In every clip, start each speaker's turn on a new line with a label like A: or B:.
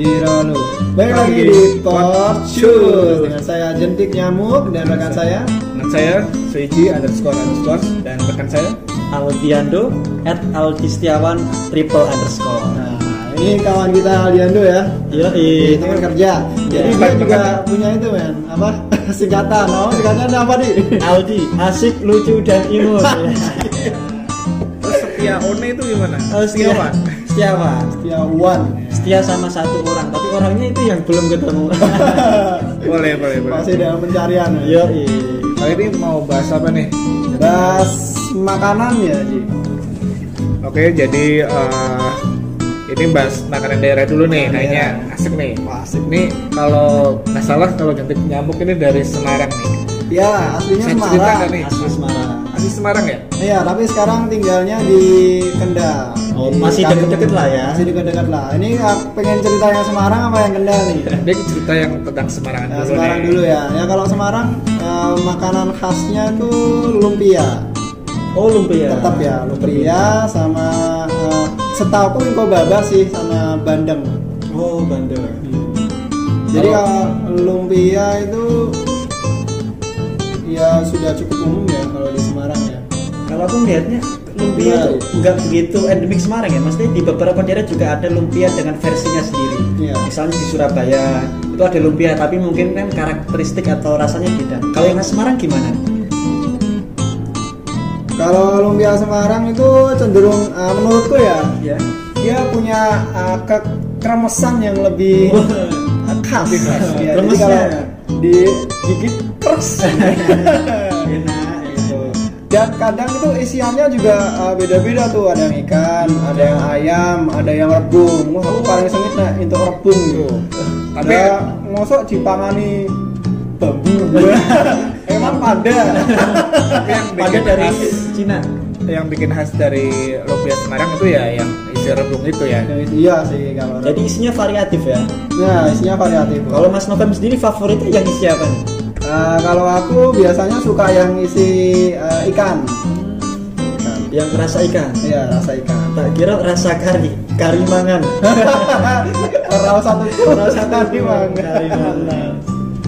A: Iranu. Balik lagi di Podcast dengan saya Jentik Nyamuk dan rekan saya
B: Dengan saya, Seiji underscore underscore Dan rekan saya
C: Aldiando at Aldistiawan triple underscore.
A: Nah, ini kawan kita Aldiando ya.
C: Iya,
A: Ini teman kerja. Jadi
B: Iya.
A: dia juga punya itu men, apa? singkatan. Oh, singkatannya apa, Di?
C: Aldi asik lucu dan imut.
B: Terus Setia One itu gimana?
C: Oh,
B: Setiawan
C: Setiawan.
A: Setiawan.
C: Setia sama satu orang, tapi orangnya itu yang belum ketemu.
B: Boleh, boleh, Iya. boleh
A: Masih dalam pencarian. ya.
C: Yo,
B: Kali ini mau bahas apa nih?
A: Bahas makanan ya, Ji.
B: Oke, jadi eh, ini bahas makanan daerah dulu nih, kayaknya asik nih.
A: Wah, asik.
B: Ini kalau nggak salah kalau jentik nyamuk ini dari Semarang nih.
A: Ya, aslinya
B: Saya cerita
A: Semarang.
B: nggak nih?
C: asli Semarang.
B: Asli Semarang ya?
A: Iya, tapi sekarang tinggalnya di Kendal.
C: Oh,
A: Di
C: masih
A: Kalimun-
C: deket-deket lah ya.
A: Masih deket-deket lah. Ini ah, pengen cerita yang Semarang apa yang Kendal nih?
B: Nah, Dia cerita yang tentang Semarang
A: Nah,
B: dulu
A: Semarang
B: nih.
A: dulu ya. Ya kalau Semarang eh, makanan khasnya itu lumpia.
C: Oh,
B: Iya.
C: lumpia.
A: Tetap ya lumpia sama eh, setahu aku Wingko Baba sih sama bandeng.
C: Oh, bandel.
A: Iya. Jadi
B: Kalau-
A: kalau lumpia itu ya sudah cukup umum ya kalau di Semarang ya.
C: Kalau aku melihatnya lumpia
A: Iya.
C: tuh nggak begitu endemik Semarang ya. Maksudnya di beberapa daerah juga ada lumpia dengan versinya sendiri.
A: Iya.
C: Misalnya di Surabaya itu ada lumpia, tapi mungkin kan karakteristik atau rasanya beda. Kalau yang khas Semarang gimana?
A: Kalau lumpia Semarang itu cenderung eh, menurutku ya
C: Ya.
A: dia punya eh, ke- keremesan yang lebih khas. Ya, jadi
C: Kremesnya.
A: kalau di gigit terus.
C: Enak.
A: gitu. Dan kadang itu isiannya juga uh, beda-beda tuh, ada yang ikan, ada yang ayam, ada yang rebung. Wah, aku paling sengit nah untuk rebung gitu.
B: Tuh. Tapi
A: Tapi ngosok dipangani bambu. Emang pada.
B: tapi yang
C: Pada
B: bikin
C: dari
B: khas,
C: Cina.
B: yang bikin khas dari lumpia Semarang itu ya yang isi rebung itu ya.
A: iya sih kalau.
C: Jadi isinya variatif ya.
A: nah, isinya variatif.
C: Kalau Mas Novem sendiri favoritnya yang isi apa nih?
A: Uh, kalau aku biasanya suka yang isi uh, ikan. Ikan.
C: Yang rasa ikan.
A: Iya, rasa ikan.
C: Tak kira rasa kari, kari mangan.
A: Orang satu, orang satu di
C: Kari mangan.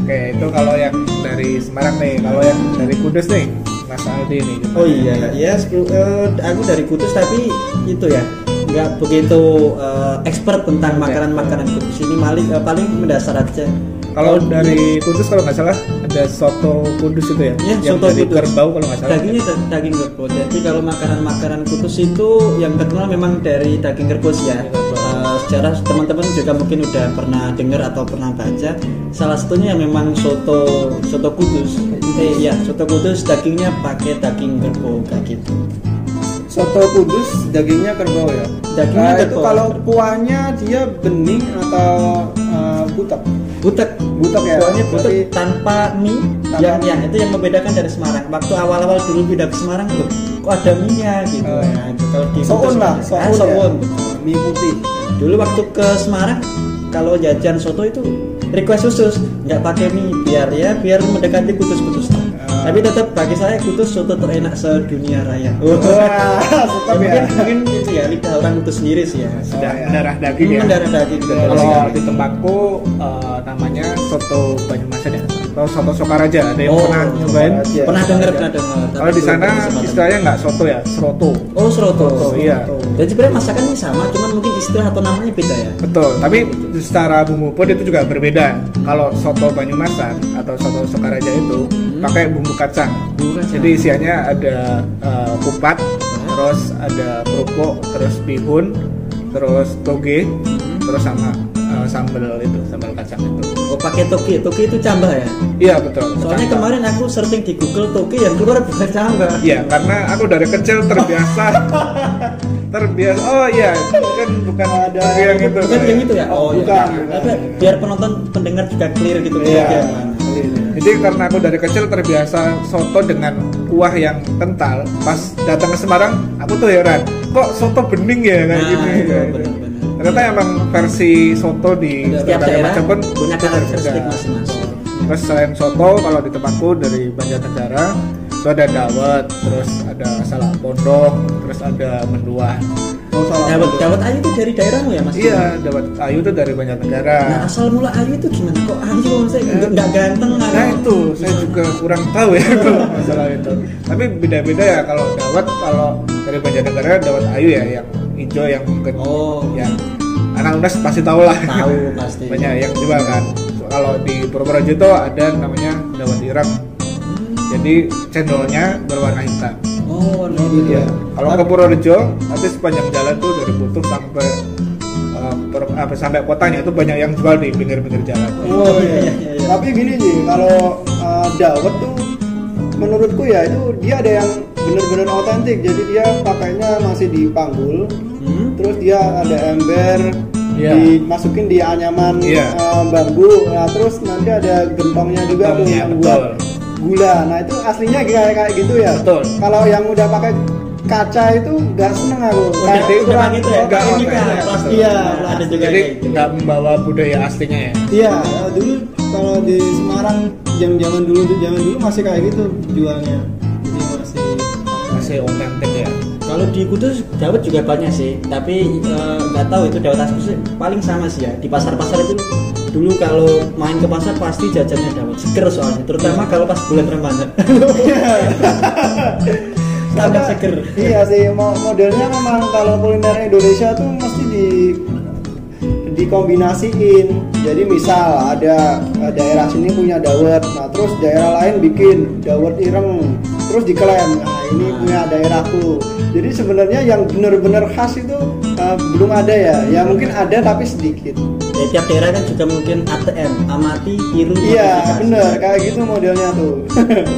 B: Oke, itu kalau yang dari Semarang nih, kalau yang dari Kudus nih, Mas Aldi nih. gimana?
C: Oh iya, iya. sku- eh, aku dari Kudus tapi itu ya nggak begitu eh, expert tentang makanan-makanan Kudus ini paling eh, paling mendasar aja.
B: Kalau dari Kudus kalau nggak salah ada soto Kudus itu ya,
C: ya,
B: yang
C: soto
B: dari
C: Kudus.
B: kerbau kalau nggak salah. Oh,
C: Dagingnya da- daging kerbau. Jadi kalau makanan-makanan Kudus itu yang terkenal memang dari daging kerbau sih ya. Eh, sejarah teman-teman juga mungkin udah pernah dengar atau pernah baca. Salah satunya yang memang soto soto Kudus. Eh, iya, soto Kudus dagingnya pakai daging kerbau kayak gitu.
A: Soto kudus dagingnya kerbau ya.
C: Dagingnya
A: Nah, itu
C: kerbau.
A: kalau kuahnya dia bening atau eh, butek.
C: Butek
A: Butek ya.
C: Soalnya butuh
A: Berarti
C: tanpa mie
A: Tanpa
C: yang,
A: mie.
C: yang itu yang membedakan dari Semarang. Waktu awal-awal dulu pindah ke Semarang loh, kok ada mie-nya gitu.
A: Oh,
C: Nah, itu kalau di
A: soun
C: Kudus-
A: lah,
C: Ah,
A: soun. ya.
C: soun.
A: Mie putih.
C: Dulu waktu ke Semarang kalau jajan soto itu request khusus, nggak pakai mie biar ya biar mendekati Kudus-Kudus.
B: Ah. Oh,
C: Tapi tetap bagi saya Kudus soto terenak sedunia raya.
A: Wah,
C: Ya,
A: tetap ya.
C: mungkin, mungkin itu ya lidah orang itu sendiri sih ya.
B: Sudah
A: Oh, iya.
B: darah daging
C: Ini
B: ya.
C: mendarah daging gitu.
B: Kalau di tempatku eh, namanya soto Banyumasan ya, atau soto Sokaraja. Ada yang
C: Oh,
B: pernah nyobain? Iya.
A: Sokaraja.
C: pernah dengar pernah dengar. tapi
B: Kalau di
C: belum
B: sana
C: berkesempatan.
B: istilahnya nggak soto ya, seroto.
C: Oh Seroto.
B: Seroto, iya.
C: Dan sebenarnya masakannya sama, cuman mungkin istilah atau namanya beda ya.
B: Betul, tapi secara bumbu pun itu juga berbeda. Kalau soto Banyumasan atau soto Sokaraja itu
C: Hmm.
B: pakai bumbu kacang. Jadi isiannya ada eh, kupat,
C: Hmm.
B: terus ada kerupuk, terus bihun, terus toge,
C: Hmm.
B: terus sama eh, sambal itu, sambal kacang itu.
C: oh pakai toki, toki itu cambah ya.
B: Iya betul.
C: Soalnya
B: kacang.
C: kemarin aku searching di Google toki yang keluar bukan cambah.
B: Iya, karena aku dari kecil terbiasa terbiasa. Oh iya, kan bukan ada yang itu.
C: Bukan yang itu ya. Oh
A: Bukan,
C: iya.
A: bukan.
C: Tapi biar penonton pendengar juga clear gitu
A: Iya.
C: bedanya.
B: Jadi karena aku dari kecil terbiasa soto dengan kuah yang kental, pas datang ke Semarang aku tuh heran, kok soto bening ya kayak
C: Nah,
B: gini.
C: iya,
B: kayak gitu.
C: benar-benar.
B: Ternyata emang versi soto di
C: Setiap
B: berbagai
C: daerah
B: macam pun
C: punya karakteristik
B: berbeda.
C: masing-masing.
B: Terus selain soto, kalau di tempatku dari Banjarnegara itu ada dawet, terus ada salak pondok, terus ada menduan.
A: Oh, salah.
C: Dawet Dawet Ayu itu dari daerahmu ya Mas?
B: Iya, dapat Ayu itu dari banyak
C: Nah
B: negara.
C: asal mula Ayu itu gimana kok Ayu maksudnya nggak- nggak ganteng
B: Nah,
C: Ayu.
B: itu saya juga kurang tahu ya masalah itu. Tapi beda-beda ya kalau dawet kalau dari banyak negara dawet Ayu ya yang hijau yang mungkin
C: Oh
B: yang anak unas pasti tahu lah.
C: tahu pasti.
B: banyak yang juga kan. So, kalau di Purworejo itu ada namanya dawet Irang.
C: Hmm.
B: Jadi cendolnya berwarna hitam.
C: Oh, warna
A: gitu.
C: itu.
B: Iya. Kalau ke Purworejo nanti sepanjang jalan tuh dari Butuh sampai eh, Pur- apa, sampai kotanya itu banyak yang jual di pinggir-pinggir jalan.
A: Oh, iya.
C: Iya, iya, iya.
A: Tapi gini sih, kalau uh, dawet tuh menurutku ya itu dia ada yang bener-bener otentik. Jadi dia pakainya masih di panggul,
C: Hmm.
A: terus dia ada ember
B: Iya.
A: dimasukin di anyaman
B: Iya.
A: uh, bambu. Nah, terus nanti ada gentongnya juga tuh
B: Gentongnya,
A: yang
B: betul.
A: buat gula. Nah, itu aslinya kayak kayak gitu ya.
B: Betul.
A: Kalau yang udah pakai kaca itu nggak seneng aku.
C: Oh,
B: Nah,
A: Kayak
C: jadi udah
A: kurang
C: gitu ya.
B: nggak
C: ini kan
B: otentik.
C: pasti
A: Iya,
C: ada juga
B: Jadi
C: kayak gitu.
B: nggak membawa budaya aslinya ya.
A: Iya, eh, dulu kalau di Semarang jam-jaman dulu tuh zaman dulu masih kayak gitu jualnya. Jadi masih
B: Masih otentik ya.
C: Kalau di Kudus dawet juga banyak sih, tapi eh, nggak tahu itu dawet asli sih paling sama sih ya. Di pasar-pasar itu dulu kalau main ke pasar pasti jajannya dawet seger soalnya, terutama kalau pas bulan Ramadan. Tambah seger.
A: Iya sih, mo- modelnya memang kalau kuliner Indonesia tuh mesti di dikombinasiin. Jadi misal ada eh, daerah sini punya dawet, nah terus daerah lain bikin dawet ireng, terus diklaim, nah ini punya daerahku. Jadi sebenarnya yang benar-benar khas itu eh, belum ada ya. Ya mungkin ada tapi sedikit.
C: Ya, tiap daerah kan juga mungkin ATM, amati, tiru.
A: Iya,
C: modifikasi.
A: bener kayak gitu modelnya tuh.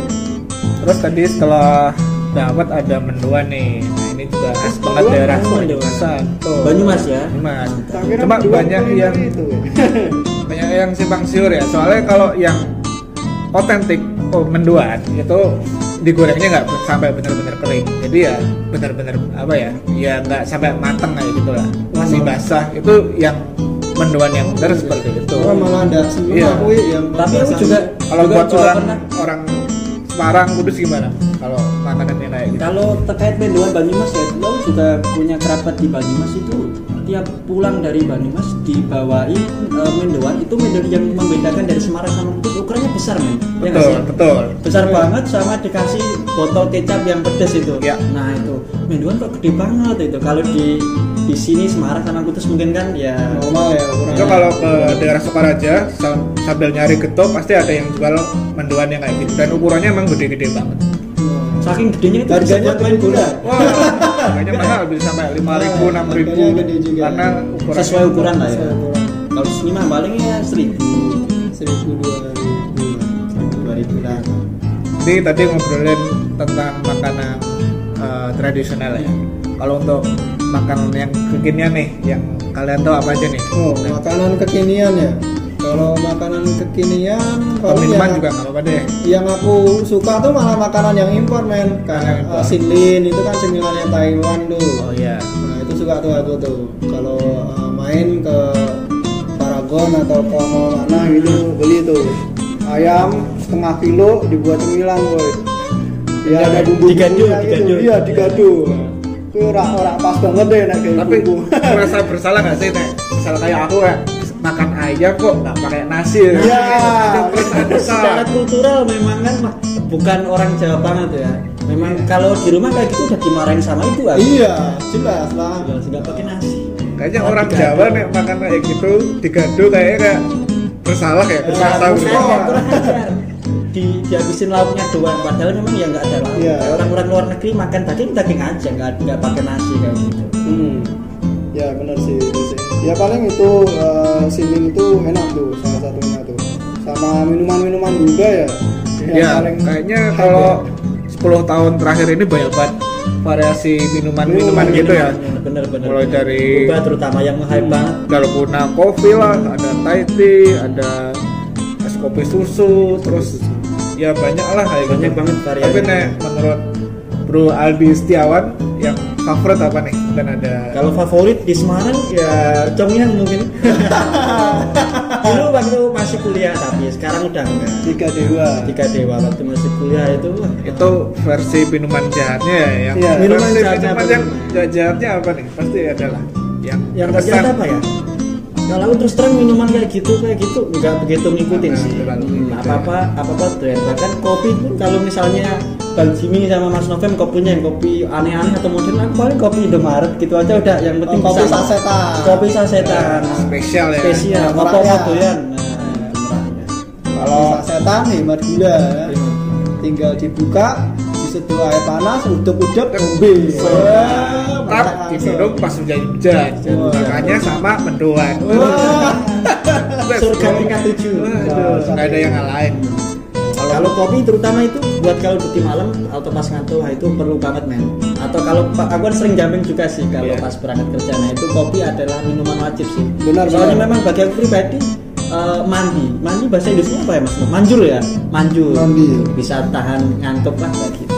B: Terus tadi setelah dawet ada mendua nih. Nah ini juga khas banget
A: mendua,
B: daerah
C: mendua.
B: Banyumasan. Tuh.
C: Banyumas ya.
B: Banyumas.
A: Tak kira
B: Cuma
A: dua
B: banyak
A: kuliner
B: yang
A: kan itu.
B: banyak yang simpang siur ya soalnya kalau yang otentik oh, menduan itu digorengnya nggak sampai benar-benar kering jadi ya benar-benar apa ya ya nggak sampai mateng kayak gitu lah masih basah itu yang menduan yang benar seperti itu
A: Wah, malah ada semua
B: Iya.
A: aku yang
C: Tapi aku juga
B: kalau
C: juga-
B: buat
C: juga
B: orang
C: pernah.
B: orang Semarang Kudus gimana kalau makanannya naik gitu
C: Kalau terkait Mendoan Banyumas ya, lo juga punya kerabat di Banyumas itu tiap pulang dari Banyumas dibawain eh, mendoan itu mendoan yang membedakan dari Semarang sama Kudus ukurannya besar men ya nggak
B: betul
C: sih?
B: betul
C: besar banget sama dikasih botol kecap yang pedes itu
B: Ya.
C: nah itu mendoan kok gede banget itu kalau di di sini Semarang sama Kudus mungkin kan ya
A: normal ya kurang.
B: itu kalau ke daerah Sukaraja sam- sambil nyari getok pasti ada yang jual menduan yang kayak gitu dan ukurannya emang gede-gede banget
C: saking gedenya itu bisa
A: Harganya
C: buat
A: main gula.
B: Wah, harganya mahal bisa sampai lima ribu enam ribu
A: Harganya gede juga.
B: karena ukuran
C: sesuai ukuran lah ya
A: Sesuai ukuran.
C: kalau di sini mah palingnya seribu
A: Seribu dua ribu, seribu dua ribu lah.
B: Jadi tadi ngobrolin tentang makanan eh, tradisional ya. Kalau untuk makanan yang kekinian nih, yang kalian tahu apa aja nih?
A: Oh, makanan kekinian ya. Kalau makanan kekinian, kalau
B: Minuman
A: yang,
B: juga nggak apa-apa deh.
A: yang aku suka tuh malah makanan yang impor men kayak
B: Yang impor.
A: uh, sinlin itu kan cemilannya Taiwan tuh
B: Oh iya.
A: Nah itu suka tuh aku tuh kalau uh, main ke Paragon atau ke mall mana gitu beli tuh ayam setengah kilo dibuat cemilan woi. Ya ada bumbu
C: Diganjul,
A: bumbunya gitu.
C: diganjul.
A: Iya digaduh. Itu ora ora pas banget deh nek kayak
B: Tapi
A: bumbu.
B: merasa bersalah nggak sih nek? Misalnya kayak aku ya makan ayam kok nggak pakai nasi.
A: Iya.
B: Itu perasaan bersalah.
C: secara kultural memang kan mah- bukan orang Jawa banget ya. Memang
B: Iya.
C: kalau di rumah kayak gitu udah dimarahin sama ibu kan.
A: Iya, jelas lah.
C: Jelas, nggak pakai nasi.
B: Kayaknya
C: Tapi
B: orang
C: gaduh.
B: Jawa nek makan kayak gitu digaduh kayaknya kayak bersalah ya, bersalah Iya,
C: Kurang ajar,
B: bersalah.
C: kurang ajar. Di dihabisin lauknya doang padahal memang ya nggak ada lauk.
A: Iya.
C: Kayak Orang-orang luar negeri makan daging daging aja nggak nggak pakai nasi kayak gitu.
A: Hmm. Ya benar sih itu sih. Ya paling itu uh, siling itu enak tuh salah satunya tuh. Sama minuman-minuman juga ya. yang ya.
B: Ya, kayaknya kalau 10 tahun terakhir ini banyak banget variasi minuman-minuman
C: Iya.
B: gitu ya.
C: Bener-bener.
B: Mulai dari- Hmm.
C: Boba terutama yang hype banget.
B: Dalgona kopi lah, ada Thai tea, ada es kopi susu, terus ya banyak lah kayak
C: Banyak banget variasi.
B: Tapi nek menurut Bro Aldi Setiawan yang favorit apa nih dan ada
C: Kalau favorit di Semarang ya Congnyang mungkin. Dulu waktu masih kuliah tapi sekarang udah enggak.
A: tiga dewa
C: Tiga dewa waktu masih kuliah itu wah,
B: itu versi minuman jahatnya ya yang
A: Iya.
C: Minuman
B: versi
C: jahatnya
B: minuman
C: apa
B: yang
C: nih?
B: jahat jahatnya apa nih pasti adalah yang
C: yang
B: berkesan.
C: terjadi apa ya? Kalau aku terus terang minuman kayak gitu kayak gitu nggak begitu ngikutin
B: Nah,
C: sih.
B: terlalu
C: Hmm,
B: ngikutin.
C: Apa apa apa apa tren bahkan kopi pun kalau misalnya Bang Jimmy sama Mas Novem kopinya yang kopi aneh-aneh atau modern aku paling kopi Indomaret gitu aja udah yang penting
A: kopi
C: bisa-
A: sasetan.
C: kopi sasetan
B: Oh, spesial ya
C: spesial
A: Orang
C: apa apa
A: rakyat.
C: doyan Nah,
A: kalau setan hemat gula ya.
C: ya.
A: tinggal dibuka diseduh air panas udep udep ngombe
C: Nah,
A: Wah,
B: Tap
A: makan
B: diminum
A: langsung.
B: pas hujan hujan
C: Iya.
A: Wah.
B: makanya sama mendoan
A: Wah.
B: Let's
C: surga
B: go.
C: tingkat tujuh
B: Waduh, nggak ada yang lain
C: kalau kalau kopi terutama itu buat kalau di malam atau pas ngantuk wah, itu perlu banget men atau kalau aku kan sering jamping juga sih kalau
B: Iya.
C: pas berangkat kerja nah itu kopi adalah minuman wajib sih
A: Benar,
C: soalnya
A: benar.
C: memang bagi aku pribadi eh, mandi mandi bahasa Indonesia apa ya mas manjur ya manjur
A: Mandi.
C: bisa tahan ngantuk lah kayak gitu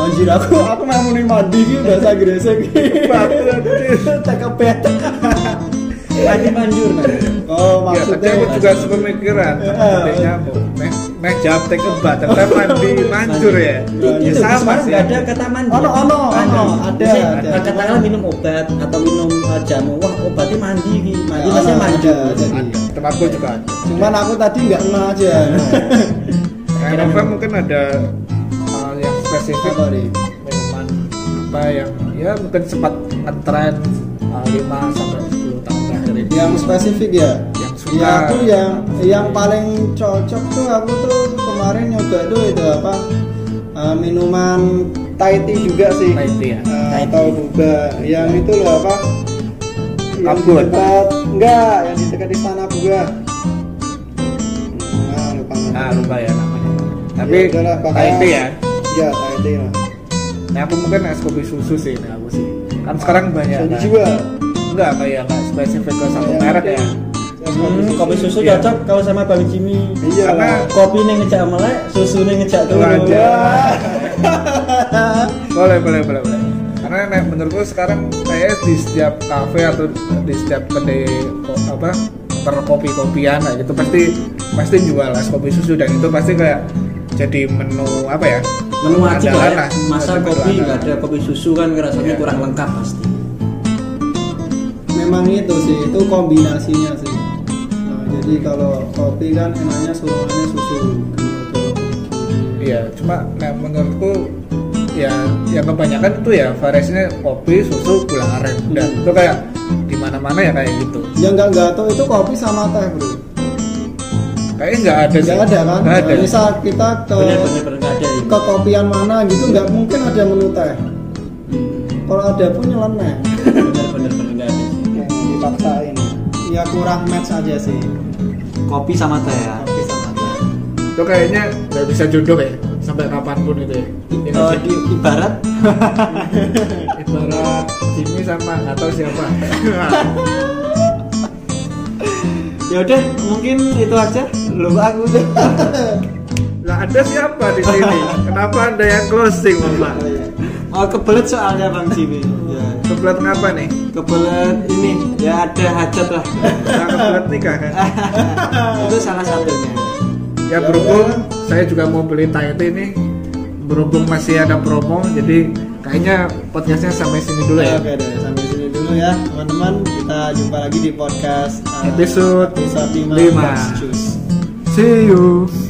A: anjir aku aku mau muni mandi gitu bahasa gresik tak kepet
C: mandi manjur man.
A: oh
B: Ya, tadi
A: maksudnya
B: aku juga sempat mikiran adiknya apa? Meh meh jam take a bath, ternyata mandi mancur
A: Iya,
B: ya. Ya
A: gitu.
C: Itu,
B: sama
C: Semarang
B: sih.
C: nggak ada kata mandi.
A: Ono, ono,
C: Mandi.
A: ono, ada,
C: Biasanya,
A: ada.
C: eh, Katakanlah minum obat atau minum eh, jamu. Wah, obatnya mandi iki. Mandi
A: Ya,
C: pasti
A: ono,
C: mandi.
A: ada, ada.
B: Ada. Tempatku Iya, juga. ada.
A: cuman aku tadi nggak kena aja
B: Yang
C: Kira-kira.
B: apa mungkin ada uh, yang spesifik
A: apa nih
B: minuman apa yang ya mungkin sempat ngetren uh, 5 sampai 10 tahun terakhir ini.
A: yang spesifik ya
B: Yang suka.
A: ya aku yang yang paling cocok tuh aku tuh kemarin nyoba tuh itu apa eh, minuman Thai tea juga sih
B: Thai tea ya.
A: Eh,
C: Thai
A: atau boba yang itu loh apa yang di
B: Kabut.
A: dekat enggak yang di dekat istana buga nah lupa
B: Nah,
A: namanya.
B: lupa ya namanya. Tapi
A: Ya udahlah,
B: kayak
A: pokoknya-
B: itu ya.
A: iya Thai tea lah
B: Nah, aku mungkin es kopi susu sih ini aku sih. Kan sekarang banyak.
A: Jadi
B: kan?
A: juga Iya.
B: Enggak kayak enggak spesifik ke satu merek ya.
C: Hmm, kopi susu
B: Iya.
C: cocok kalau sama Bang Jimmy. Nah,
A: iya
B: Karena
A: lah
C: Kopi ini ngejak melek, susu ini ngejak turun.
B: Wajar.
A: Iya.
B: boleh boleh boleh boleh karena nek, menurutku sekarang kayak di setiap kafe atau di setiap kedai ko- apa perkopi kopian kayak gitu pasti pasti jual es kopi susu dan itu pasti kayak jadi menu apa ya
C: Menu wajib
B: andalan
C: lah ya.
B: lah. Iya.
C: Masa
B: Menu
C: kopi
B: andalan.
C: nggak ada kopi susu kan rasanya kurang lengkap pasti.
A: memang itu sih itu kombinasinya sih nah, jadi kalau kopi kan enaknya suruhannya susu gitu.
B: iya cuma nek, menurutku ya yang kebanyakan itu ya variasinya kopi susu gula aren dan
A: Hmm.
B: itu kayak di mana mana ya kayak gitu
A: yang nggak nggak tahu itu kopi sama teh bro
B: kayaknya nggak ada sih.
A: nggak ada kan
B: nggak ada
A: Nah, misal kita ke
C: Benar-benar nggak ada ini.
A: ke kopian mana gitu nggak mungkin ada menu teh kalau ada pun nyeleneh
C: Benar-benar Hmm. nggak ada. sih.
A: yang dipaksain ya kurang match aja sih
C: Kopi sama teh ya.
A: kopi sama teh
B: itu kayaknya nggak bisa jodoh ya sampai kapanpun itu ya
C: Eh, di ibarat
B: iya. ibarat Jimmy sama nggak tahu siapa
C: ya udah mungkin itu aja lu aku deh
B: lah anda siapa di sini kenapa anda yang closing mama
C: oh kebelet soalnya bang Jimmy ya.
B: kebelet ngapa nih
C: kebelet ini ya ada hajat lah
B: Nah, kebelet nikah kan
C: itu salah satunya
B: ya berhubung saya juga mau beli Tahiti ini berhubung masih ada promo jadi kayaknya podcastnya sampai sini dulu ya
A: Oke deh, sampai sini dulu ya teman-teman. Kita jumpa lagi di podcast uh,
B: Episode
A: episode 5,
B: lima.
A: Juice.
B: see you